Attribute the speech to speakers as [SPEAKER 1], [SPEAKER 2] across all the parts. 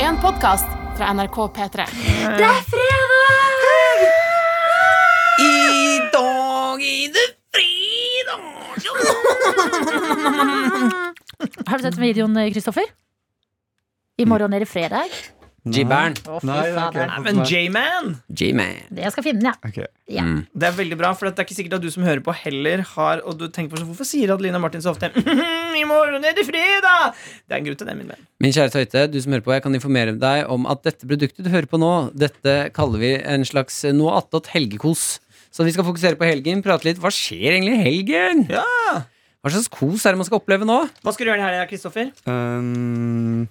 [SPEAKER 1] en podkast fra NRK P3.
[SPEAKER 2] Det er fredag!
[SPEAKER 3] I dag er det fredag!
[SPEAKER 4] Har du sett videoen, Kristoffer? I morgen er det fredag.
[SPEAKER 3] G-Bern.
[SPEAKER 4] Å, fy
[SPEAKER 5] Nei, det har ikke
[SPEAKER 4] fader.
[SPEAKER 5] jeg
[SPEAKER 3] Nei,
[SPEAKER 5] fått
[SPEAKER 3] men
[SPEAKER 5] med.
[SPEAKER 3] J-Man! J-Man.
[SPEAKER 4] Jeg skal finne den, jeg.
[SPEAKER 5] Ok.
[SPEAKER 4] Ja.
[SPEAKER 3] Mm.
[SPEAKER 2] Det er veldig bra, for det er ikke sikkert at du som hører på heller har Og du tenker på sånn, Hvorfor sier Adeline og Martin så ofte "Mhm, I morgen er det fredag! Det er en grunn til det, min venn.
[SPEAKER 3] Min kjære Tøyte, du som hører på, jeg kan informere deg om at dette produktet du hører på nå, dette kaller vi en slags noe attåt helgekos. Så vi skal fokusere på helgen, prate litt. Hva skjer egentlig i helgen?
[SPEAKER 2] Ja.
[SPEAKER 3] Hva slags kos er det man skal oppleve nå?
[SPEAKER 2] Hva skal du gjøre i helga, Kristoffer?
[SPEAKER 5] Um,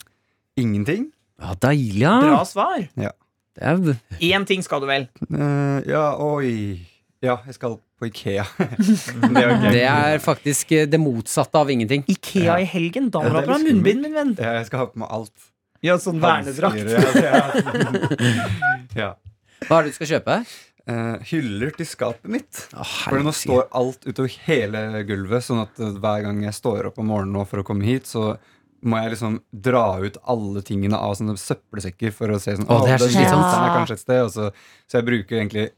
[SPEAKER 5] ingenting.
[SPEAKER 3] Ja, deilig, ja.
[SPEAKER 2] Bra svar.
[SPEAKER 3] Dau.
[SPEAKER 2] Én ting skal du vel.
[SPEAKER 5] Eh, ja, oi. Ja, jeg skal på Ikea. det er jo gøy.
[SPEAKER 3] Det er faktisk eh, det motsatte av ingenting.
[SPEAKER 2] Ikea i helgen. Da
[SPEAKER 5] Ja,
[SPEAKER 2] må du
[SPEAKER 5] det
[SPEAKER 2] ha
[SPEAKER 5] er
[SPEAKER 2] på deg
[SPEAKER 5] litt
[SPEAKER 2] munnbind, min venn.
[SPEAKER 5] Ja, jeg skal ha på meg alt.
[SPEAKER 2] Ja, sånn vernedrakt.
[SPEAKER 5] Hansker, Ja. ja.
[SPEAKER 3] Hva er det du skal kjøpe?
[SPEAKER 5] Eh, hyller til skapet mitt.
[SPEAKER 3] Å,
[SPEAKER 5] For nå
[SPEAKER 3] herregud.
[SPEAKER 5] står alt utover hele gulvet, sånn at eh, hver gang jeg står opp om morgenen nå for å komme hit, så må jeg liksom dra ut alle tingene av sånne søppelsekker for å se sånn
[SPEAKER 3] Å, det er så
[SPEAKER 5] den
[SPEAKER 3] slitsomt.
[SPEAKER 5] den er kanskje et sted, og så, så jeg bruker egentlig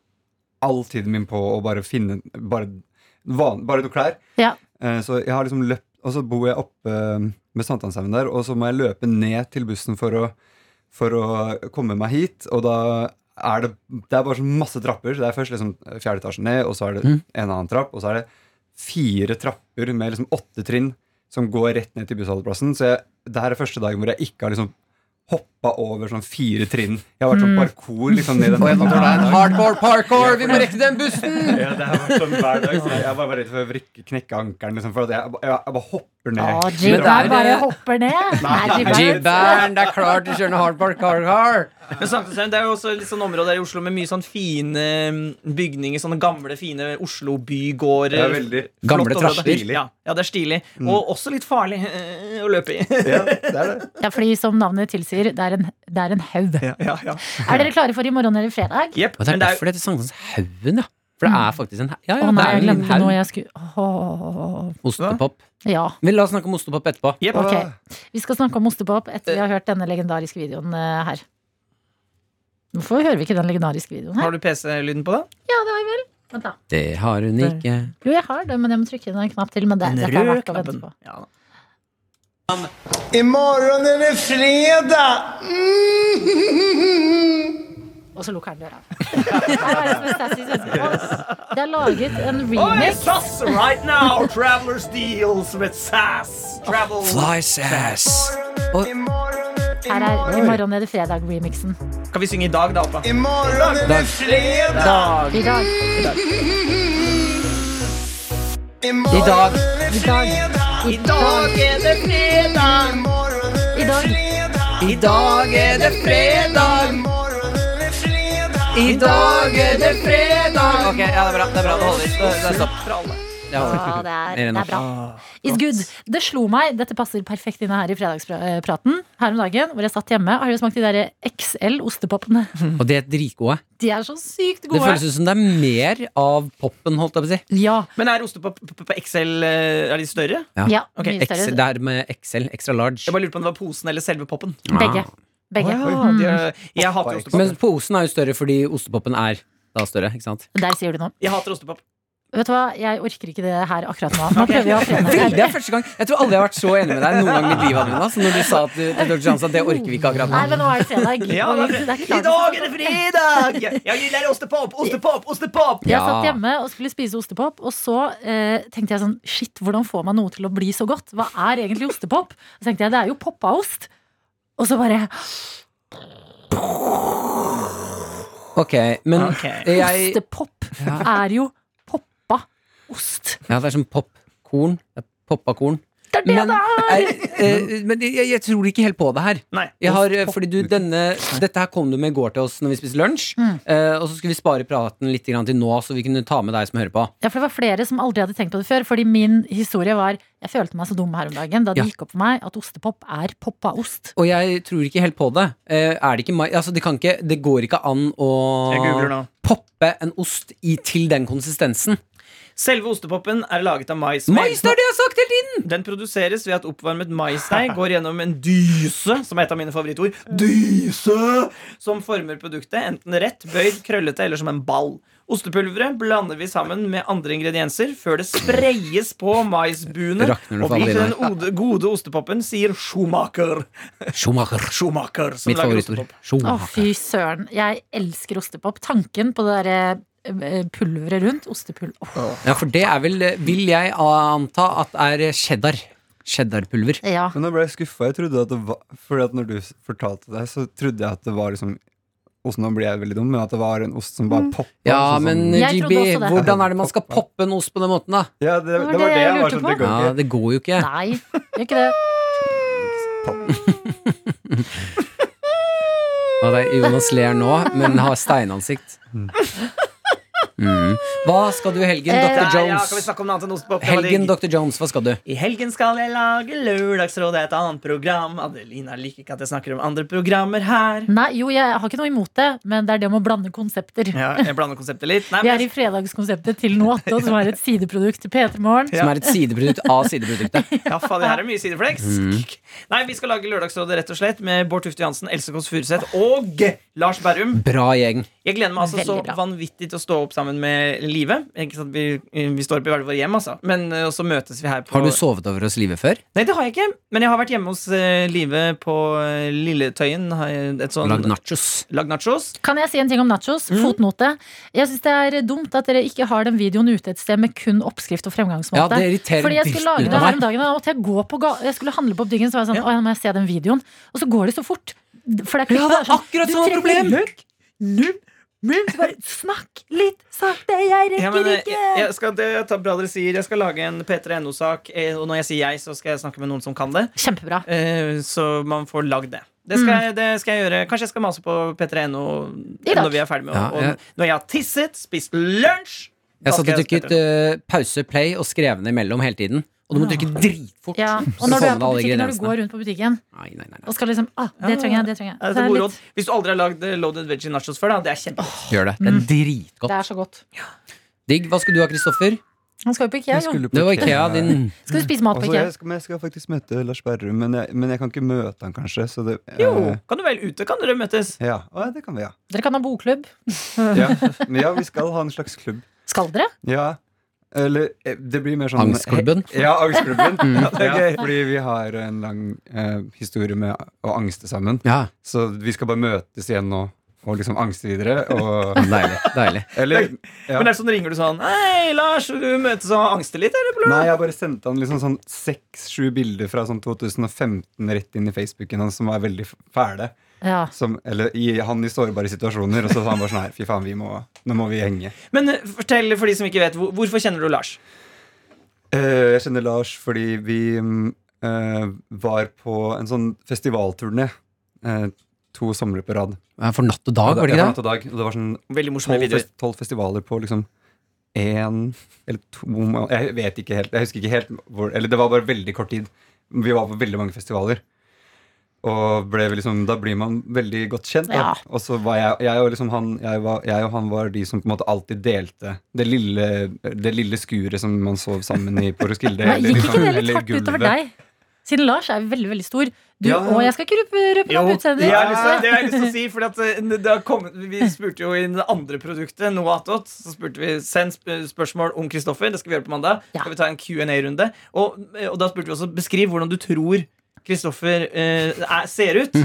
[SPEAKER 5] all tiden min på å bare finne bare, van, bare noen klær.
[SPEAKER 4] Ja.
[SPEAKER 5] Eh, Så jeg har liksom løpt Og så bor jeg oppe eh, med Sankthanshaugen der, og så må jeg løpe ned til bussen for å, for å komme meg hit. Og da er det Det er bare så masse trapper. Så det er først liksom fjerde etasjen ned, og så er det
[SPEAKER 3] Mm.
[SPEAKER 5] en annen trapp, og så er det fire trapper med liksom åtte trinn som går rett ned til bussholdeplassen. Så jeg, det her er første dagen hvor jeg ikke har liksom hoppa over sånn fire trinn. Jeg har vært sånn parkour liksom ned den
[SPEAKER 3] Å, jeg
[SPEAKER 5] trappen
[SPEAKER 3] Mm. tror det
[SPEAKER 5] hver
[SPEAKER 3] er en
[SPEAKER 5] dag.
[SPEAKER 3] hardcore parkour! Vi må rekke den bussen!
[SPEAKER 5] Ja, det har vært sånn hver dag. Så jeg jeg bare var redd for å vrikke, knekke ankelen. Liksom, for at jeg, jeg, jeg bare hopper ned.
[SPEAKER 4] Å,
[SPEAKER 3] Men det
[SPEAKER 4] Jibber
[SPEAKER 3] er-
[SPEAKER 4] bare hopper ned. Nei, Jibber.
[SPEAKER 3] G-Bern, det er klart du kjører en hardcore car-car!
[SPEAKER 2] Men Sankthanshaugen det er jo også litt sånn område her i Oslo med mye sånn fine mm, bygninger. Sånne gamle, fine
[SPEAKER 5] Det er
[SPEAKER 2] Oslo-bygårder.
[SPEAKER 5] veldig Mm.
[SPEAKER 2] Flott
[SPEAKER 3] Gamle
[SPEAKER 2] område.
[SPEAKER 3] trasjer.
[SPEAKER 2] Ja, ja, det er stilig. Og også litt farlig eh, å løpe i.
[SPEAKER 5] Ja, det er det.
[SPEAKER 4] Ja, fordi som navnet tilsier, det er en, det er en haug.
[SPEAKER 2] ja, ja.
[SPEAKER 4] Er dere klare for i morgen eller fredag?
[SPEAKER 2] Jepp.
[SPEAKER 3] Og det er
[SPEAKER 2] Men det er,
[SPEAKER 3] derfor det heter Sankthanshaugen, ja. For det er faktisk en he-
[SPEAKER 4] Å
[SPEAKER 3] Ja, ja, det
[SPEAKER 4] nei,
[SPEAKER 3] er
[SPEAKER 4] jeg
[SPEAKER 3] en
[SPEAKER 4] glemte
[SPEAKER 3] haug.
[SPEAKER 4] noe jeg skulle Åh.
[SPEAKER 3] Ostepop.
[SPEAKER 4] Ja,
[SPEAKER 3] Men la oss snakke om ostepop etterpå.
[SPEAKER 2] jepp.
[SPEAKER 4] ok. Vi skal snakke om ostepop etter vi har hørt denne legendariske videoen eh, her. Hvorfor hører vi ikke den legendariske videoen her?
[SPEAKER 2] Har du PC-lyden på det?
[SPEAKER 4] Ja, det har vi vel. Vent da.
[SPEAKER 3] Det har hun ikke.
[SPEAKER 4] Jo, jeg har det, men jeg må trykke inn en knapp til. Men det, dette er verdt å vente på.
[SPEAKER 2] Ja, da.
[SPEAKER 6] Imorgon är det fredag!
[SPEAKER 4] Og så lukker han døra. Her er det som er sassy svenske. Og Det er laget en remake.
[SPEAKER 2] SAS right now! Travelers deals with SAS! Travel
[SPEAKER 3] Flysass.
[SPEAKER 4] Her er I morgen er det fredag-remixen.
[SPEAKER 2] Kan vi synge i dag, da, Alpa?
[SPEAKER 6] Imorgon är det fredag!
[SPEAKER 2] Dag.
[SPEAKER 4] I dag.
[SPEAKER 3] I dag.
[SPEAKER 2] I dag er det fredag!
[SPEAKER 4] I dag.
[SPEAKER 3] I dag er det fredag. I dag er det fredag. Ok, ja, det er bra. Det er bra. Det holder. Det, det er stopp. Det
[SPEAKER 4] Ja,
[SPEAKER 3] holder.
[SPEAKER 4] det
[SPEAKER 3] Mer
[SPEAKER 4] er,
[SPEAKER 3] enn
[SPEAKER 4] det er bra. It's good. Det slo meg, dette passer perfekt inn her i fredagspraten, her om dagen, hvor jeg satt hjemme. Har dere smakt de der XL-ostepopene?
[SPEAKER 3] Og det er dritgode.
[SPEAKER 4] De er så sykt
[SPEAKER 3] Det
[SPEAKER 4] gode.
[SPEAKER 3] føles ut som det er mer av poppen, holdt jeg på å si.
[SPEAKER 4] Ja.
[SPEAKER 2] Men er ostepop på, på, på XL eh, Er de større?
[SPEAKER 4] ja
[SPEAKER 2] Ok,
[SPEAKER 4] mye
[SPEAKER 3] Excel,
[SPEAKER 4] større.
[SPEAKER 3] det er med XL, extra large.
[SPEAKER 2] Jeg bare lurer på om det var posen eller selve poppen.
[SPEAKER 4] Begge. Begge.
[SPEAKER 2] Å ja, de, er- jeg hater ostepop.
[SPEAKER 3] Men posen er jo større fordi ostepopen er da større, ikke sant?
[SPEAKER 4] Mm. Der sier du noe.
[SPEAKER 2] Jeg hater ostepop.
[SPEAKER 4] Vet du hva, jeg orker ikke det her akkurat nå. Nå prøver vi å ha fredag.
[SPEAKER 3] Det er første gang Jeg tror aldri jeg har vært så enig med deg noen gang i mitt liv, Adelina, som når du sa at, du, til Dr. Johnson at det orker vi ikke akkurat
[SPEAKER 4] Nei,
[SPEAKER 3] nå.
[SPEAKER 4] men nå er det fredag.
[SPEAKER 2] Ja,
[SPEAKER 4] Og
[SPEAKER 2] det
[SPEAKER 4] vi- det er
[SPEAKER 2] er fre-
[SPEAKER 4] ikke
[SPEAKER 2] I dag er det fredag! Jeg gilder ostepop! Ostepop! Ostepop!
[SPEAKER 4] Jeg
[SPEAKER 3] Ja.
[SPEAKER 4] satt hjemme og skulle spise ostepop, og så eh, tenkte jeg sånn Shit, hvordan får man noe til å bli så godt? Hva er egentlig ostepop? Så tenkte jeg, det er jo poppa ost. Og så bare
[SPEAKER 3] Ok, men
[SPEAKER 2] Ok.
[SPEAKER 3] jeg
[SPEAKER 4] Ostepop er jo poppa ost.
[SPEAKER 3] Ja, det er som popkorn. Det er Poppa korn.
[SPEAKER 4] Det er det
[SPEAKER 3] Men,
[SPEAKER 4] det er!
[SPEAKER 3] jeg, eh, men jeg, jeg tror ikke helt på det her.
[SPEAKER 2] Nei.
[SPEAKER 3] Jeg har, eh, fordi du, denne, dette her kom du med i går til oss når vi spiste lunsj.
[SPEAKER 4] Mm.
[SPEAKER 3] eh, og så skulle vi spare praten litt grann til nå, så vi kunne ta med deg som hører på.
[SPEAKER 4] Ja, for det var flere som aldri hadde tenkt på det før. Fordi min historie var Jeg følte meg så dum her om dagen da det
[SPEAKER 3] Ja.
[SPEAKER 4] gikk opp for meg at ostepop er poppa ost.
[SPEAKER 3] Og jeg tror ikke helt på det. Eh, er det ikke mai... Altså, det kan ikke Det går ikke an
[SPEAKER 2] Jeg googler
[SPEAKER 3] å
[SPEAKER 2] nå.
[SPEAKER 3] poppe en ost i, til den konsistensen.
[SPEAKER 2] Selve ostepopen er laget av mais.
[SPEAKER 3] Mais, det er det jeg har sagt hele tiden!
[SPEAKER 2] Den produseres ved at oppvarmet maisdeig går gjennom en dyse, som er et av mine favorittord, dyse, som former produktet enten rett, bøyd, krøllete eller som en ball. Ostepulveret blander vi sammen med andre ingredienser før det sprayes på maisbuene
[SPEAKER 3] Rakner det
[SPEAKER 2] og
[SPEAKER 3] for
[SPEAKER 2] blir til
[SPEAKER 3] alle
[SPEAKER 2] den ode- gode ostepopen, sier Schumacher.
[SPEAKER 3] Schumacher.
[SPEAKER 2] Schumacher som
[SPEAKER 3] Mitt
[SPEAKER 2] lager
[SPEAKER 3] favorittord.
[SPEAKER 2] ostepop.
[SPEAKER 4] Å,
[SPEAKER 3] Schumacher.
[SPEAKER 4] fy søren. Jeg elsker ostepop. Tanken på det derre eh, pulveret rundt. Ostepulver. Åh.
[SPEAKER 3] Ja, for det er vel, vil jeg anta at er cheddar. Cheddarpulver.
[SPEAKER 4] Ja.
[SPEAKER 5] Men nå ble jeg skuffa. Jeg trodde at det var Fordi at når du s- fortalte det, så trodde jeg at det var liksom Osten, nå blir jeg veldig dum, men at det var en ost som bare poppa.
[SPEAKER 3] Ja,
[SPEAKER 5] sånn som-
[SPEAKER 3] men
[SPEAKER 4] Jeg trodde
[SPEAKER 3] GB,
[SPEAKER 4] også det.
[SPEAKER 3] hvordan er det man skal poppe en ost på den måten, da?
[SPEAKER 5] ja, det,
[SPEAKER 4] var
[SPEAKER 5] det, var
[SPEAKER 4] det
[SPEAKER 5] det
[SPEAKER 4] jeg
[SPEAKER 5] jeg var
[SPEAKER 4] lurte
[SPEAKER 5] sånn Det
[SPEAKER 4] på.
[SPEAKER 5] går
[SPEAKER 3] Ja,
[SPEAKER 5] ikke.
[SPEAKER 3] det går jo ikke.
[SPEAKER 4] Nei, gjør ikke det.
[SPEAKER 3] Ja, det er Jonas ler nå, men har steinansikt. Mm. Hva skal du i helgen,
[SPEAKER 4] Eh,
[SPEAKER 3] Dr.
[SPEAKER 2] Nei, ja, kan vi
[SPEAKER 3] Jones?
[SPEAKER 2] snakke om noe annet enn ostepop? Det var digg.
[SPEAKER 3] Helgen, Dr. Jones, hva skal du?
[SPEAKER 2] I helgen skal jeg lage Lørdagsrådet, et annet program. Adelina liker ikke at jeg snakker om andre programmer her.
[SPEAKER 4] Nei, jo, jeg har ikke noe imot det, men det er det om å blande konsepter.
[SPEAKER 2] Ja, jeg blander konseptet litt. Nei,
[SPEAKER 4] Vi er
[SPEAKER 2] men,
[SPEAKER 4] i fredagskonseptet til noe attåt, som er et sideprodukt til P3 Morgen.
[SPEAKER 3] Som er et sideprodukt av sideproduktet.
[SPEAKER 2] ja, faen, det her er mye sideflex.
[SPEAKER 3] Mm.
[SPEAKER 2] Nei, vi skal lage Lørdagsrådet rett og slett med Bård Tufte Johansen, Else Kåss Furuseth og Lars Berrum.
[SPEAKER 3] Bra gjeng.
[SPEAKER 2] Jeg gleder meg altså så
[SPEAKER 4] Veldig bra.
[SPEAKER 2] vanvittig til å stå opp sammen med Live. Ikke sant? Vi, vi står opp i hvert vårt hjem, altså. Men eh, og så møtes vi her på
[SPEAKER 3] Har du sovet over hos Live før?
[SPEAKER 2] Nei, det har jeg ikke. Men jeg har vært hjemme hos eh, Live på eh, Lilletøyen. har jeg Et sånn
[SPEAKER 3] Lagd nachos.
[SPEAKER 2] Lagd nachos.
[SPEAKER 4] Kan jeg si en ting om nachos?
[SPEAKER 3] Mm.
[SPEAKER 4] Fotnote. Jeg syns det er dumt at dere ikke har den videoen ute et sted med kun oppskrift og fremgangsmåte.
[SPEAKER 3] Ja, det irriterer
[SPEAKER 4] Fordi jeg skulle lage
[SPEAKER 3] dritten ut
[SPEAKER 4] det
[SPEAKER 3] av
[SPEAKER 4] her
[SPEAKER 3] meg.
[SPEAKER 4] om dagen, og da måtte jeg gå på ga Jeg skulle handle på butikken, så var jeg sånn
[SPEAKER 2] Ja.
[SPEAKER 4] Å, nå må jeg se den videoen. Og så går det så fort. For det er
[SPEAKER 3] Ja, det er
[SPEAKER 4] sånn,
[SPEAKER 3] akkurat
[SPEAKER 4] du
[SPEAKER 3] samme
[SPEAKER 4] trenger
[SPEAKER 3] problem.
[SPEAKER 4] Løk, nubb, mubb. Bare snakk litt sakte, jeg rekker
[SPEAKER 2] Ja, men, eh,
[SPEAKER 4] ikke.
[SPEAKER 2] jeg, jeg skal, det er bra dere sier Jeg skal lage en P3NO-sak, eh, og når jeg sier jeg, så skal jeg snakke med noen som kan det.
[SPEAKER 4] Kjempebra.
[SPEAKER 2] Eh, Så man får lagd det. Det skal, jeg, det skal jeg gjøre. Kanskje jeg skal mase på P3NO
[SPEAKER 4] Mm. I dag.
[SPEAKER 2] når vi er ferdig med
[SPEAKER 3] Ja,
[SPEAKER 2] å- og
[SPEAKER 3] jeg-
[SPEAKER 2] Når jeg har tisset, spist lunsj da
[SPEAKER 3] Jeg satt
[SPEAKER 2] skal
[SPEAKER 3] og
[SPEAKER 2] jeg
[SPEAKER 3] trykket
[SPEAKER 2] spille.
[SPEAKER 3] eh, pause, play og skrev ned imellom hele tiden. Og du må trykke dritfort.
[SPEAKER 4] Ja.
[SPEAKER 5] Mm.
[SPEAKER 3] Så
[SPEAKER 4] Og når du, er
[SPEAKER 3] kommer
[SPEAKER 4] på butikken,
[SPEAKER 3] alle
[SPEAKER 4] når du
[SPEAKER 3] ingrediensene.
[SPEAKER 4] går rundt på butikken
[SPEAKER 3] Nei, nei, nei, nei.
[SPEAKER 4] og skal liksom ah, Det trenger jeg, det trenger jeg.
[SPEAKER 2] Ja, dette
[SPEAKER 4] Så
[SPEAKER 2] er
[SPEAKER 4] det,
[SPEAKER 2] gode
[SPEAKER 4] er
[SPEAKER 2] råd.
[SPEAKER 4] litt,
[SPEAKER 2] Hvis du aldri har lagd eh, loaded veggie nachos før, da, det er kjempe
[SPEAKER 3] Gjør det. Det er dritgodt.
[SPEAKER 4] Mm. det er så godt.
[SPEAKER 3] Digg. Hva skal du ha, Kristoffer?
[SPEAKER 4] Han skal jo på Ikea,
[SPEAKER 5] Jeg
[SPEAKER 4] jo.
[SPEAKER 5] skulle på
[SPEAKER 3] Det var Ikea, din
[SPEAKER 4] Skal du spise mat på
[SPEAKER 5] Altså,
[SPEAKER 4] Ikea?
[SPEAKER 5] jeg, skal, men jeg skal faktisk møte Lars Berrum, men, jeg- men jeg kan ikke møte han kanskje. Så det,
[SPEAKER 2] Jo,
[SPEAKER 5] eh,
[SPEAKER 2] kan du vel ute? Kan dere møtes?
[SPEAKER 5] ja. Å, ja, det kan vi, ja.
[SPEAKER 4] Dere kan ha bokklubb.
[SPEAKER 5] ja. Men ja, vi skal ha en slags klubb.
[SPEAKER 4] Skal dere?
[SPEAKER 5] Ja. Eller eh, det blir mer sånn
[SPEAKER 3] angstklubben. Mm.
[SPEAKER 5] Ja, angstklubben. ja, det er
[SPEAKER 2] Ja.
[SPEAKER 5] gøy, fordi vi har en lang eh, historie med å angste sammen.
[SPEAKER 3] Ja,
[SPEAKER 5] Så vi skal bare møtes igjen nå og liksom angste videre. Og,
[SPEAKER 3] deilig. deilig.
[SPEAKER 5] eller ja.
[SPEAKER 2] Men er det sånn, ringer du sånn Hei, Lars, vil du møtes og angste litt? Eller?
[SPEAKER 5] Nei, jeg bare sendte han liksom sånn seks-sju bilder fra sånn 2015 rett inn i Facebooken hans som var veldig f- fæle.
[SPEAKER 4] Ja.
[SPEAKER 5] Som, eller i, han i sårbare situasjoner. Og så sa han bare sånn her, fy faen, vi må, nå må vi henge.
[SPEAKER 2] Men eh, fortell for de som ikke vet, hvor- hvorfor kjenner du Lars?
[SPEAKER 5] Eh, jeg kjenner Lars fordi vi mm, eh, var på en sånn festivalturné eh, to somre på rad.
[SPEAKER 3] Ja, For natt og dag,
[SPEAKER 5] Ja,
[SPEAKER 3] var det
[SPEAKER 5] ja,
[SPEAKER 3] ikke
[SPEAKER 5] natt
[SPEAKER 3] det?
[SPEAKER 5] og dag. Og det var sånn
[SPEAKER 2] Veldig morsomme
[SPEAKER 5] tolv,
[SPEAKER 2] videoer.
[SPEAKER 5] fest, tolv festivaler på liksom én eller to må- Jeg vet ikke helt. Jeg husker ikke helt hvor Eller det var bare veldig kort tid. Vi var på veldig mange festivaler. Og ble vi liksom, da blir man veldig godt kjent. Da.
[SPEAKER 4] Ja.
[SPEAKER 5] Og så var jeg, jeg, og liksom han, jeg, var, jeg og han var de som på en måte alltid delte det lille, det lille skuret som man sov sammen i på Roskilde.
[SPEAKER 4] Men
[SPEAKER 5] eller
[SPEAKER 4] gikk ikke
[SPEAKER 5] liksom-
[SPEAKER 4] det litt
[SPEAKER 5] eller
[SPEAKER 4] hardt utover
[SPEAKER 5] gulvet.
[SPEAKER 4] deg? Siden Lars er veldig veldig stor. Du,
[SPEAKER 5] Ja.
[SPEAKER 4] Og jeg skal ikke røpe, røpe noe om utseendet ditt.
[SPEAKER 2] Jeg har lyst til, det har jeg lyst til å si, fordi at eh, det har kommet, Vi spurte jo i det andre produktet, noe attåt, så spurte vi send sp- spørsmål om Kristoffer. Det skal vi gjøre på mandag.
[SPEAKER 4] Ja.
[SPEAKER 2] Skal vi ta en Q&A-runde? Og, eh, og da spurte vi også beskriv hvordan du tror Kristoffer eh, er- ser ut.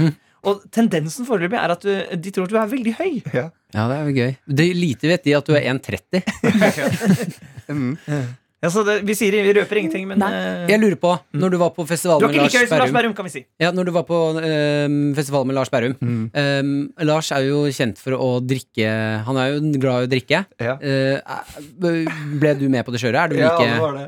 [SPEAKER 2] Og tendensen foreløpig er at du, de tror at du er veldig høy.
[SPEAKER 5] Ja.
[SPEAKER 3] Ja, det er jo gøy. Det lite vet de at du er 1,30.
[SPEAKER 2] Ja, så det, vi, sier, vi røper ingenting, men
[SPEAKER 4] Nei.
[SPEAKER 2] eh,
[SPEAKER 3] Jeg lurer på, når du var på festival
[SPEAKER 2] Du er
[SPEAKER 3] med Lars
[SPEAKER 2] ikke like høy som Lars
[SPEAKER 3] Berrum
[SPEAKER 2] Berrum, kan vi si.
[SPEAKER 3] Ja, når du var på ehm, festival med Lars Berrum Ehm, Lars er jo kjent for å drikke Han er jo glad i å drikke.
[SPEAKER 5] Ja.
[SPEAKER 3] Eh, ble du med på det kjøret? Er du
[SPEAKER 5] Ja, det
[SPEAKER 3] like
[SPEAKER 5] var det.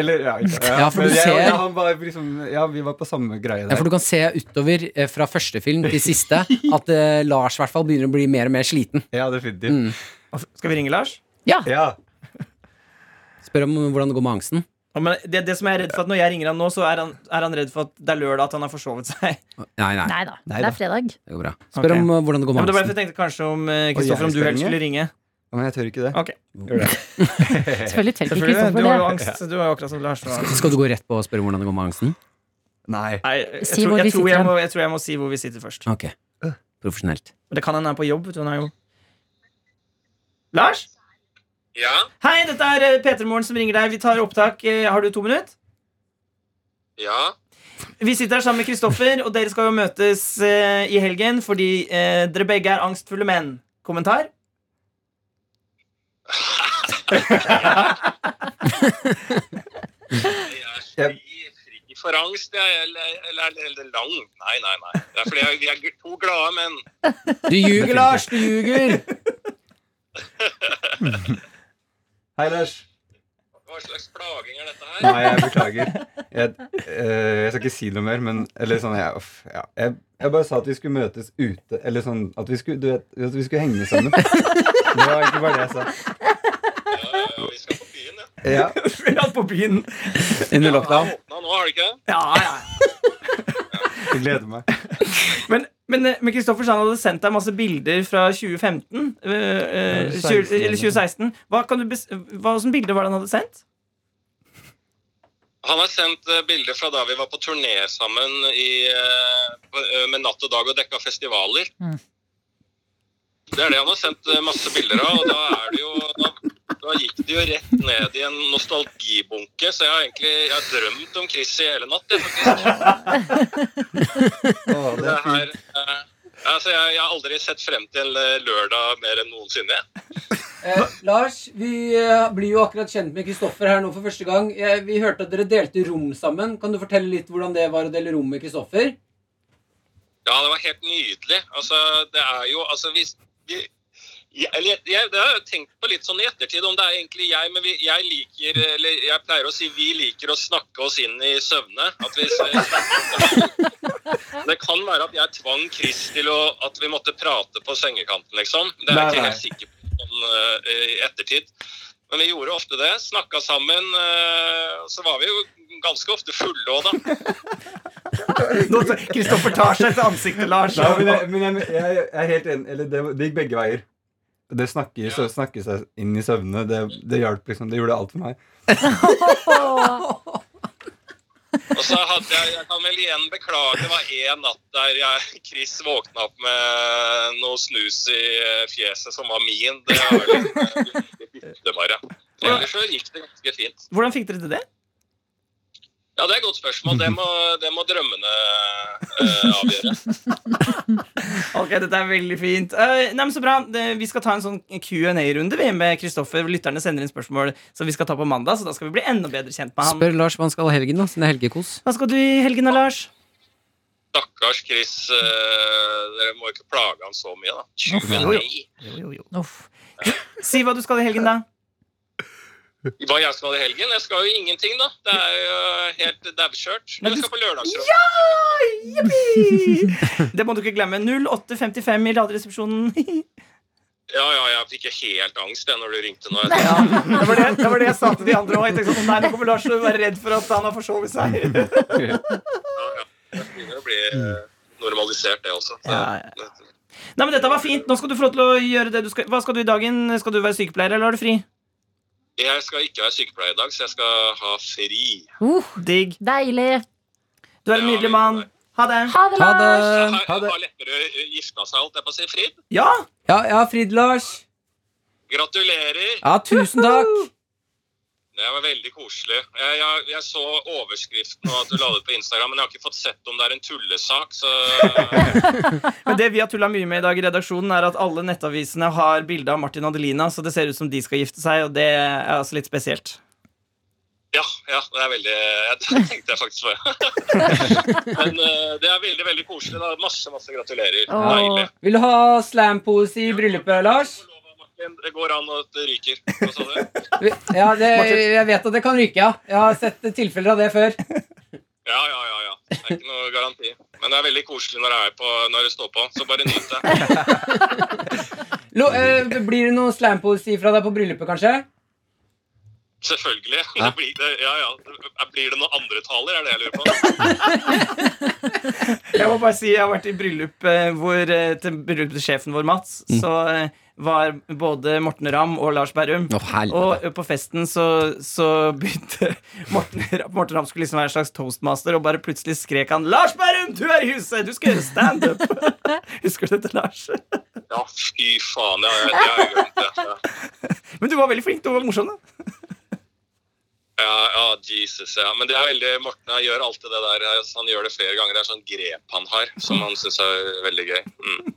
[SPEAKER 5] Eller, ja, ikke,
[SPEAKER 3] Ja, for
[SPEAKER 5] Men
[SPEAKER 3] du
[SPEAKER 5] jeg-
[SPEAKER 3] ser-
[SPEAKER 5] ja, han var liksom, ja, vi var på samme greie der.
[SPEAKER 3] ja, for du kan se utover eh, fra første film til siste at eh, Lars i hvert fall begynner å bli mer og mer sliten.
[SPEAKER 5] Ja, definitivt.
[SPEAKER 3] Mm.
[SPEAKER 2] Skal vi ringe Lars?
[SPEAKER 5] Ja.
[SPEAKER 3] Spør om eh, hvordan det går med angsten.
[SPEAKER 2] Ja, men det, det som jeg er redd for at Når jeg ringer han nå, så er han, er han redd for at det er lørdag, at han har forsovet seg.
[SPEAKER 3] Nei, nei,
[SPEAKER 4] Nei da,
[SPEAKER 5] Nei
[SPEAKER 4] det
[SPEAKER 5] da.
[SPEAKER 4] er fredag.
[SPEAKER 3] det går bra. Spør
[SPEAKER 2] Ok.
[SPEAKER 3] om eh, hvordan det går
[SPEAKER 2] Ja, men
[SPEAKER 3] med
[SPEAKER 2] det var derfor
[SPEAKER 3] angsten.
[SPEAKER 2] jeg tenkte kanskje om eh, Kristoffer
[SPEAKER 5] jeg
[SPEAKER 2] om du
[SPEAKER 5] skal
[SPEAKER 2] helst
[SPEAKER 5] ringe?
[SPEAKER 2] skulle ringe.
[SPEAKER 5] Ja, men jeg tør ikke det.
[SPEAKER 2] Ok,
[SPEAKER 5] Gjør det.
[SPEAKER 4] Selvfølgelig tør ikke
[SPEAKER 2] selvfølgelig.
[SPEAKER 4] Kristoffer
[SPEAKER 2] Du har jo
[SPEAKER 4] det.
[SPEAKER 2] angst. Du har jo akkurat som Lars. nå.
[SPEAKER 3] Skal du gå rett på og spørre hvordan det går med angsten?
[SPEAKER 5] Nei.
[SPEAKER 2] Nei, jeg,
[SPEAKER 4] Si
[SPEAKER 2] tror,
[SPEAKER 4] hvor vi
[SPEAKER 2] jeg, tror jeg,
[SPEAKER 4] sitter
[SPEAKER 2] må, jeg tror jeg må si hvor vi sitter først.
[SPEAKER 3] Ok, profesjonelt
[SPEAKER 2] Men Det kan hende han er på jobb. vet du, Hun er jo Lars?
[SPEAKER 7] Ja,
[SPEAKER 2] Hei, dette er Petermoren som ringer deg. Vi tar opptak. Eh, Har du to minutter?
[SPEAKER 7] ja.
[SPEAKER 2] Vi sitter her sammen med Kristoffer, og dere skal jo møtes eh, i helgen fordi eh, dere begge er angstfulle menn. Kommentar?
[SPEAKER 7] Jeg er fri, fri for angst, jeg. Eller, eller, eller, eller lang. Nei, nei, nei. Det er fordi jeg, vi er to glade menn.
[SPEAKER 3] Du ljuger, Lars, du ljuger
[SPEAKER 5] Hei, Lars.
[SPEAKER 7] Hva slags plaging er dette her?
[SPEAKER 5] Nei, jeg beklager. Jeg, eh, jeg skal ikke si noe mer, men eller sånn, jeg, uff, ja. jeg, jeg bare sa at vi skulle møtes ute. Eller sånn at vi skulle, du vet, at vi skulle henge sammen. Det var egentlig bare det jeg sa.
[SPEAKER 7] Ja, ja, ja, vi skal på byen, ja.
[SPEAKER 5] Ja,
[SPEAKER 2] Vi er på byen.
[SPEAKER 3] Under lockdown
[SPEAKER 7] Åpna nå, har du ikke det?
[SPEAKER 2] Ja, ja.
[SPEAKER 5] jeg gleder meg.
[SPEAKER 2] Men, men, eh, men Kristoffer sa han hadde sendt deg masse bilder fra 2015. eh, eh,
[SPEAKER 5] Ja,
[SPEAKER 2] 20,
[SPEAKER 5] 16,
[SPEAKER 2] eller 2016. Hva, kan du bes hva slags bilder var det han hadde sendt?
[SPEAKER 7] Han har sendt eh, bilder fra da vi var på turné sammen i, eh, på- eh, med Natt og Dag og dekka festivaler.
[SPEAKER 4] Mm.
[SPEAKER 7] Det er det han har sendt eh, masse bilder av, og da, er det jo, da, da gikk det jo rett ned i en nostalgibunke. Så jeg har egentlig jeg har drømt om Chris i hele natt. Jeg, faktisk.
[SPEAKER 5] Å, det
[SPEAKER 7] Det
[SPEAKER 5] er fint.
[SPEAKER 7] her, eh, altså, jeg, jeg har aldri sett frem til eh, lørdag mer enn noensinne. jeg.
[SPEAKER 3] Eh, Lars, vi eh, blir jo akkurat kjent med Kristoffer her nå for første gang. Eh, vi hørte at dere delte rom sammen. Kan du fortelle litt hvordan det var å dele rom med Kristoffer?
[SPEAKER 7] Ja, det var helt nydelig. Altså, det er jo Altså, hvis vi jeg, eller jeg, jeg, det har jeg tenkt på litt sånn i ettertid, om det er egentlig jeg, men vi, jeg liker Eller jeg pleier å si vi liker å snakke oss inn i søvne. At vi, det kan være at jeg tvang Chris til å, at vi måtte prate på sengekanten, liksom. Det er
[SPEAKER 5] Nei,
[SPEAKER 7] jeg ikke
[SPEAKER 5] nei.
[SPEAKER 7] helt sikker på sånn, eh, i ettertid. Men vi gjorde ofte det. Snakka sammen. eh, Så var vi jo ganske ofte fulle òg, da.
[SPEAKER 2] Nå- Kristoffer tar seg til ansiktet, Lars.
[SPEAKER 5] Nei, men jeg, men jeg, jeg er helt enig. Eller det, det gikk begge veier. Det snakker, så, snakker seg inn i søvne. Det, det hjalp liksom. Det gjorde alt for meg.
[SPEAKER 7] Og så hadde jeg, jeg kan vel igjen beklage, det var en natt der jeg, Chris våkna opp med noe snus i eh, fjeset som var min. Det var litt, litt eh, bytte bare. Ellers så gikk det ganske fint.
[SPEAKER 2] Hvordan fikk dere til det?
[SPEAKER 7] Ja, det er et godt spørsmål. Det må, det må drømmene eh, avgjøre.
[SPEAKER 2] Ok, dette er veldig fint. Eh, nei, men så bra. Det- Vi skal ta en sånn Q&A-runde vi, med Kristoffer. Lytterne sender inn spørsmål som vi skal ta på mandag, så da skal vi bli enda bedre kjent med han.
[SPEAKER 3] Lars hva han skal i helgen, da, siden det er helgekos.
[SPEAKER 2] Hva skal du i helgen da, Lars?
[SPEAKER 7] Stakkars Chris, eh, dere må ikke plage han så mye, da. Tjue, nei.
[SPEAKER 4] Uff.
[SPEAKER 2] Si hva du skal i helgen, da.
[SPEAKER 7] Hva jeg skal i helgen? Jeg skal jo ingenting, da. Det er jo eh, helt daukjørt. Men jeg skal på lørdagsråd.
[SPEAKER 2] Det må du ikke glemme. 0855 i Radioresepsjonen.
[SPEAKER 7] Ja, ja, jeg fikk helt angst jeg, når du ringte nå.
[SPEAKER 2] Ja, det var det, det var det jeg sa til de andre òg. Nei, nå kommer Lars til å være redd for at han har forsovet seg.
[SPEAKER 7] Ja, ja. Det begynner å bli eh, normalisert, det også. Så,
[SPEAKER 2] Ja, Nei, men Dette var fint. Nå skal du få lov til å gjøre det du skal. Hva skal du i dagen? Skal du være sykepleier, eller har du fri?
[SPEAKER 7] Jeg skal ikke være sykepleier i dag, så jeg skal ha fri.
[SPEAKER 4] Uh,
[SPEAKER 2] Digg.
[SPEAKER 4] deilig.
[SPEAKER 2] Du er en nydelig mann. Ha det.
[SPEAKER 4] Ha det,
[SPEAKER 3] Ha det!
[SPEAKER 4] Lars!
[SPEAKER 7] Har,
[SPEAKER 5] ha det.
[SPEAKER 7] har Lepperød gifta seg, holdt jeg på å si? Frid?
[SPEAKER 2] Ja,
[SPEAKER 3] Ja, ja, Frid Lars.
[SPEAKER 7] Gratulerer!
[SPEAKER 3] Ja, tusen takk.
[SPEAKER 7] Det var veldig koselig. Jeg, jeg, jeg så overskriften og at du la det ut på Instagram, men jeg har ikke fått sett om det er en tullesak, så
[SPEAKER 2] Men det vi har tulla mye med i dag i redaksjonen, er at alle nettavisene har bilde av Martin og Adelina, så det ser ut som de skal gifte seg, og det er altså litt spesielt.
[SPEAKER 7] Ja, ja, det er veldig Det tenkte jeg faktisk på. Men eh, det er veldig, veldig koselig. da. Masse, masse gratulerer.
[SPEAKER 4] Åh.
[SPEAKER 7] Deilig.
[SPEAKER 3] Vil du ha slampoesi i bryllupet, Lars?
[SPEAKER 7] Martin, Det går an at det ryker. Hva sa du?
[SPEAKER 3] Ja, det, jeg vet at det kan ryke, ja. Jeg har sett tilfeller av det før.
[SPEAKER 7] Ja, ja, ja. ja. Det er ikke noe garanti. Men det er veldig koselig når det, er på, når det står på, så bare nyt det.
[SPEAKER 3] Lo, eh, blir det noe slampoesi fra deg på bryllupet, kanskje?
[SPEAKER 7] Selvfølgelig. Det blir, det, ja, ja. Det- blir det noen andre taler, er det jeg lurer på.
[SPEAKER 2] Jeg må bare si, jeg har vært i bryllup eh, hvor, eh, til bryllupssjefen vår, Mats.
[SPEAKER 3] Mm.
[SPEAKER 2] Så eh, var både Morten Ramm og Lars Berrum.
[SPEAKER 3] Å, helvete.
[SPEAKER 2] Og eh, på festen så, så begynte Morten, Ramm- Morten Ramm skulle liksom være en slags toastmaster, og bare plutselig skrek han 'Lars Berrum, du er i huset! Du skal gjøre standup!' Husker du dette, Lars?
[SPEAKER 7] Ja, fy faen. Ja, ja, det har jeg glemt. det. Ja.
[SPEAKER 2] Men du var veldig flink. Du var morsom, da.
[SPEAKER 7] Ja, ja, Jesus, ja. Men det er veldig, Morten han gjør alltid det der. altså, Han gjør det flere ganger. Det er sånn grep han har, som han syns er veldig gøy. Mm.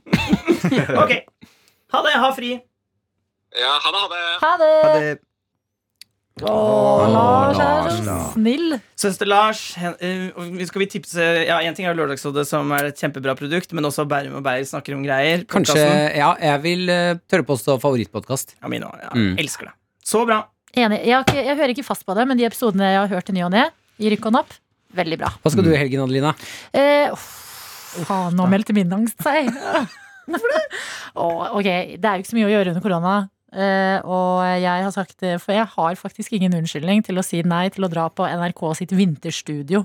[SPEAKER 2] Ok. Ha det. Ha fri.
[SPEAKER 7] Ja, ha det, ha det.
[SPEAKER 4] Ha det!
[SPEAKER 5] Ja, det,
[SPEAKER 4] Å, Lars er
[SPEAKER 5] Lars,
[SPEAKER 4] så
[SPEAKER 5] da.
[SPEAKER 4] snill.
[SPEAKER 2] Søster Lars, hen- eh, og skal vi tipse Ja, Én ting er jo Lørdagsrådet, som er et kjempebra produkt, men også Bærum og Beyer snakker om greier.
[SPEAKER 3] Kanskje
[SPEAKER 2] Podcasten.
[SPEAKER 3] Ja, jeg vil eh, tørre påstå favorittpodkast.
[SPEAKER 2] Ja, min også, ja.
[SPEAKER 3] Mm.
[SPEAKER 2] Elsker det. Så bra.
[SPEAKER 4] Enig. Jeg, har ikke, jeg hører ikke fast på det, men de episodene jeg har hørt i ny og ne, i rykk og napp, veldig bra.
[SPEAKER 3] Hva skal du i helgen, Adelina?
[SPEAKER 4] Eh, uff, faen, nå meldte min angst seg. Hvorfor det? ok, det er jo ikke så mye å gjøre under korona. Eh, og jeg har sagt det, for jeg har faktisk ingen unnskyldning til å si nei til å dra på NRK sitt vinterstudio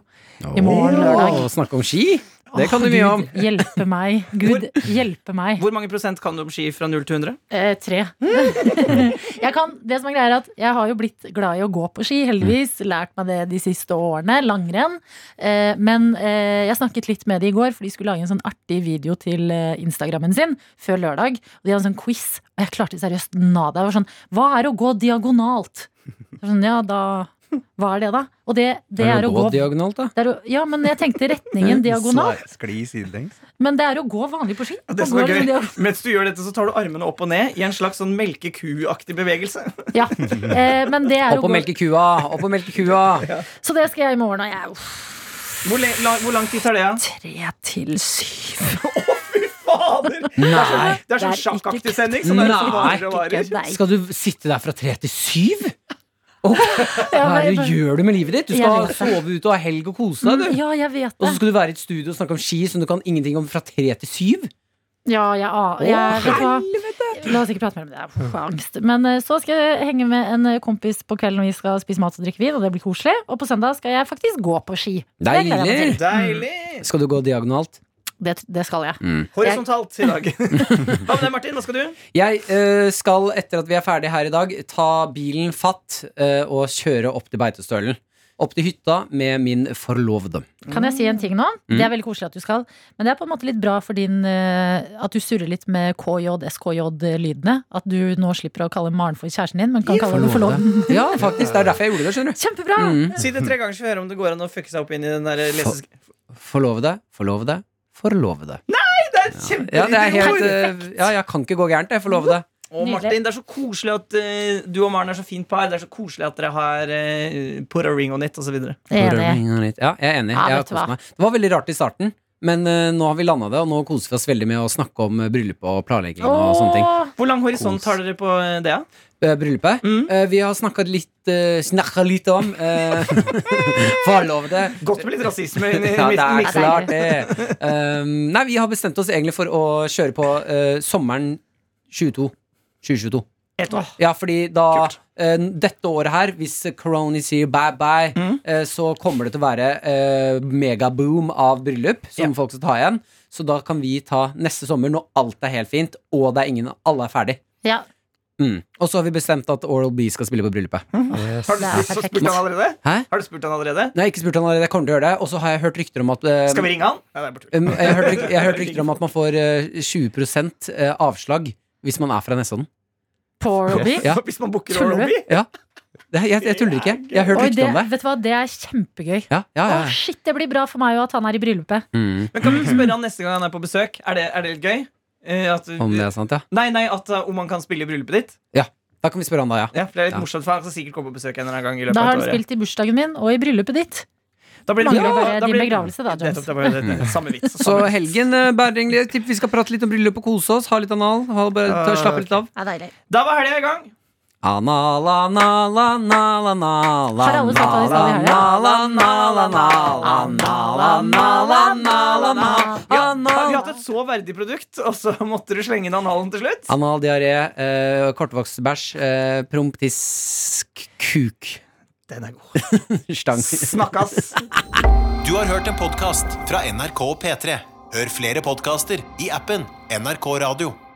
[SPEAKER 4] i morgen lørdag.
[SPEAKER 3] Å, snakke om ski? Det kan du
[SPEAKER 4] Åh,
[SPEAKER 3] mye om.
[SPEAKER 4] Gud, Hjelpe meg. Gud, hjelpe meg.
[SPEAKER 2] Hvor mange prosent kan du om ski fra 0 til 100?
[SPEAKER 4] Eh, tre. jeg kan, det som er greia er at jeg har jo blitt glad i å gå på ski, heldigvis. Lært meg det de siste årene. Langrenn. Eh, men eh, jeg snakket litt med de i går, for de skulle lage en sånn artig video til eh, Instagrammen sin før lørdag. Og de hadde en sånn quiz, og jeg klarte seriøst nada. Jeg var sånn Hva er å gå diagonalt? Jeg var Sånn, ja, da Hva er det, da? Og det, det er å gå
[SPEAKER 3] diagonalt, da.
[SPEAKER 4] det er å, ja, men jeg tenkte retningen diagonalt.
[SPEAKER 5] Skli sidelengs.
[SPEAKER 4] Men det er å gå vanlig på ski.
[SPEAKER 2] Og
[SPEAKER 4] Man
[SPEAKER 2] det som
[SPEAKER 4] går
[SPEAKER 2] er
[SPEAKER 4] liksom
[SPEAKER 2] gøy,
[SPEAKER 4] diagonalt.
[SPEAKER 2] Mens du gjør dette, så tar du armene opp og ned i en slags sånn melkeku-aktig bevegelse.
[SPEAKER 4] Ja. Eh, men det er å
[SPEAKER 3] Opp og
[SPEAKER 4] gå
[SPEAKER 3] melke kua! Opp og melke kua!
[SPEAKER 4] Så det skal jeg i morgen, og jeg er uff,
[SPEAKER 2] Hvor, le la hvor lang tid tar det? Ja?
[SPEAKER 4] tre til syv.
[SPEAKER 2] Fader!
[SPEAKER 3] Nei!
[SPEAKER 2] Det er sånn
[SPEAKER 4] Det er ikke
[SPEAKER 2] sjakaktig sending. Som er liksom som
[SPEAKER 3] Nei.
[SPEAKER 2] varer og varer.
[SPEAKER 4] Nei.
[SPEAKER 3] Skal du sitte der fra tre til syv? Åh, hva er det du gjør du med livet ditt? Du
[SPEAKER 4] Jeg
[SPEAKER 3] skal
[SPEAKER 4] vet det.
[SPEAKER 3] sove ute og ha helg og kose deg, du.
[SPEAKER 4] Mm, Ja, jeg vet
[SPEAKER 3] Og så
[SPEAKER 4] det.
[SPEAKER 3] skal du være i et studio og snakke om ski som du kan ingenting om fra tre til syv?
[SPEAKER 4] Ja, jeg, a- jeg, vet du hva? La oss ikke prate mer om det. Jeg får
[SPEAKER 3] Mm.
[SPEAKER 4] angst. Men eh, så skal jeg henge med en eh, kompis på kvelden når vi skal spise mat og drikke vin, og det blir koselig. Og på søndag skal jeg faktisk gå på ski. Det gleder jeg meg
[SPEAKER 3] Deilig!
[SPEAKER 2] Deilig!
[SPEAKER 3] Skal du gå diagonalt?
[SPEAKER 4] til. Det, det skal jeg.
[SPEAKER 2] Horisontalt i dag. Hva med deg, Martin? Hva skal du?
[SPEAKER 3] Jeg eh, skal, etter at vi er ferdige her i dag, ta bilen fatt eh, og kjøre opp til Beitostølen. Opp til hytta med min forlovede.
[SPEAKER 4] Kan jeg si
[SPEAKER 3] Mm.
[SPEAKER 4] en ting nå? Det er veldig koselig at du skal. Men det er på en måte litt bra for din eh, at du surrer litt med KJ, SKJ-lydene. At du nå slipper å kalle Maren for kjæresten din, men kan kalle henne forloveden.
[SPEAKER 3] Ja, faktisk. Det er derfor jeg gjorde det, skjønner du.
[SPEAKER 4] Kjempebra!
[SPEAKER 3] Mm.
[SPEAKER 2] Si det tre ganger, så vi hører om det går an å fucke seg opp inn i den der leses...
[SPEAKER 3] Forlovede, forlovede, forlovede.
[SPEAKER 2] Det er kjempe...
[SPEAKER 3] Ja, det er helt eh, Ja, jeg kan ikke gå gærent, jeg. Forlovede.
[SPEAKER 2] Og Martin, det er så koselig at eh, du og Maren er så fint par. Det er så koselig at dere har eh, put a ring on it, osv.
[SPEAKER 4] Enig.
[SPEAKER 3] Ja, jeg er
[SPEAKER 4] Ja,
[SPEAKER 3] enig. Jeg har
[SPEAKER 4] vet du hva.
[SPEAKER 3] kost meg. Det var veldig rart i starten, men eh, nå har vi landa det, og nå koser vi oss veldig med å snakke om eh, bryllup og planlegging og sånne ting.
[SPEAKER 4] Åh,
[SPEAKER 2] Hvor lang horisont
[SPEAKER 3] Kos.
[SPEAKER 2] har dere på eh, det? ja?
[SPEAKER 3] Eh, Bryllupet.
[SPEAKER 2] Mm.
[SPEAKER 3] Eh, Vi har snakka litt, eh, snakket litt om eh, Forlovede.
[SPEAKER 2] Godt med litt rasisme inn i
[SPEAKER 3] Ja, det er
[SPEAKER 2] midten.
[SPEAKER 3] klart det. Um, nei, vi har bestemt oss egentlig for å kjøre på eh, sommeren 22. 2022.
[SPEAKER 2] Et år.
[SPEAKER 3] Ja, fordi da
[SPEAKER 2] Kult.
[SPEAKER 3] eh, dette året her, hvis corona sier bye bye,
[SPEAKER 2] Mhm.
[SPEAKER 3] eh, så kommer det til å være eh, megaboom av bryllup som
[SPEAKER 2] Ja.
[SPEAKER 3] folk skal ta igjen. Så da kan vi ta neste sommer når alt er helt fint, og det er ingen, alle er ferdig.
[SPEAKER 4] Ja,
[SPEAKER 3] Mm. Og så har vi bestemt at Oral B skal spille på bryllupet.
[SPEAKER 2] Har du
[SPEAKER 4] Det er
[SPEAKER 2] spurt, så
[SPEAKER 4] perfekt.
[SPEAKER 2] spurt han allerede?
[SPEAKER 3] Hæ?
[SPEAKER 2] Har du spurt han allerede?
[SPEAKER 3] Nei, ikke spurt han allerede, jeg kommer til å gjøre det. Og så har jeg hørt rykter om at eh,
[SPEAKER 2] Skal vi ringe han? Nei, det er på tur.
[SPEAKER 3] Um, Jeg har hørt ryk- jeg har hørt rykter om at man får eh, 20 eh, avslag hvis man er fra Nesodden.
[SPEAKER 4] Porby.
[SPEAKER 3] Ja.
[SPEAKER 2] Hvis man booker
[SPEAKER 4] Tuller du?
[SPEAKER 2] Oral-B?
[SPEAKER 3] Ja. Det, jeg, jeg tuller ikke. Jeg har hørt
[SPEAKER 4] Oi, det,
[SPEAKER 3] rykter om det.
[SPEAKER 4] vet du hva, det er kjempegøy.
[SPEAKER 3] Ja, ja, ja.
[SPEAKER 4] Å, shit, det blir bra for meg jo at han er i bryllupet.
[SPEAKER 3] Mm.
[SPEAKER 2] Men kan vi ikke spørre han neste gang han er på besøk? Er det, er det litt gøy? Eh, at,
[SPEAKER 3] Om det er sant, ja.
[SPEAKER 2] Nei, nei, at uh, om han kan spille i bryllupet ditt?
[SPEAKER 3] Da kan vi spørre han da, ja.
[SPEAKER 2] Ja, for det er litt
[SPEAKER 3] Ja.
[SPEAKER 2] morsomt, for han skal sikkert komme på besøk en eller annen gang i løpet
[SPEAKER 4] Da har
[SPEAKER 2] av
[SPEAKER 4] han
[SPEAKER 2] et år.
[SPEAKER 4] spilt i bursdagen min og i bryllupet ditt.
[SPEAKER 2] ja. Da blir det-
[SPEAKER 4] Mangler
[SPEAKER 2] ja,
[SPEAKER 4] bare
[SPEAKER 2] da
[SPEAKER 4] din
[SPEAKER 2] blir-
[SPEAKER 4] begravelse da, Jones.
[SPEAKER 2] Nettopp, det er bare det, det, er samme
[SPEAKER 3] Mm.
[SPEAKER 2] vits.
[SPEAKER 3] Så
[SPEAKER 2] Samme vits.
[SPEAKER 3] helgen, eh, Bæring, jeg tipper vi skal prate litt om bryllup og kose oss. Ha litt anal. Ha, bare, ta, slappe litt av.
[SPEAKER 4] Ja, deilig.
[SPEAKER 2] Da var helga i gang.
[SPEAKER 3] Anal, anal, anal, anal,
[SPEAKER 4] Har alle sagt hva de skal i helga?
[SPEAKER 3] anal, anal, anal, anal, anal, anal, anal,
[SPEAKER 2] Ja, har vi
[SPEAKER 3] anal.
[SPEAKER 2] hatt et så verdig produkt, og så måtte du slenge inn analen til slutt?
[SPEAKER 3] Anal diaré, eh, kortvokst bæsj, eh, promp, tiss, k- Kuk.
[SPEAKER 2] Den er god.
[SPEAKER 3] Stang.
[SPEAKER 2] Snakkes!
[SPEAKER 8] Du har hørt en podcast fra NRK P3. Hør flere podcaster i appen NRK Radio.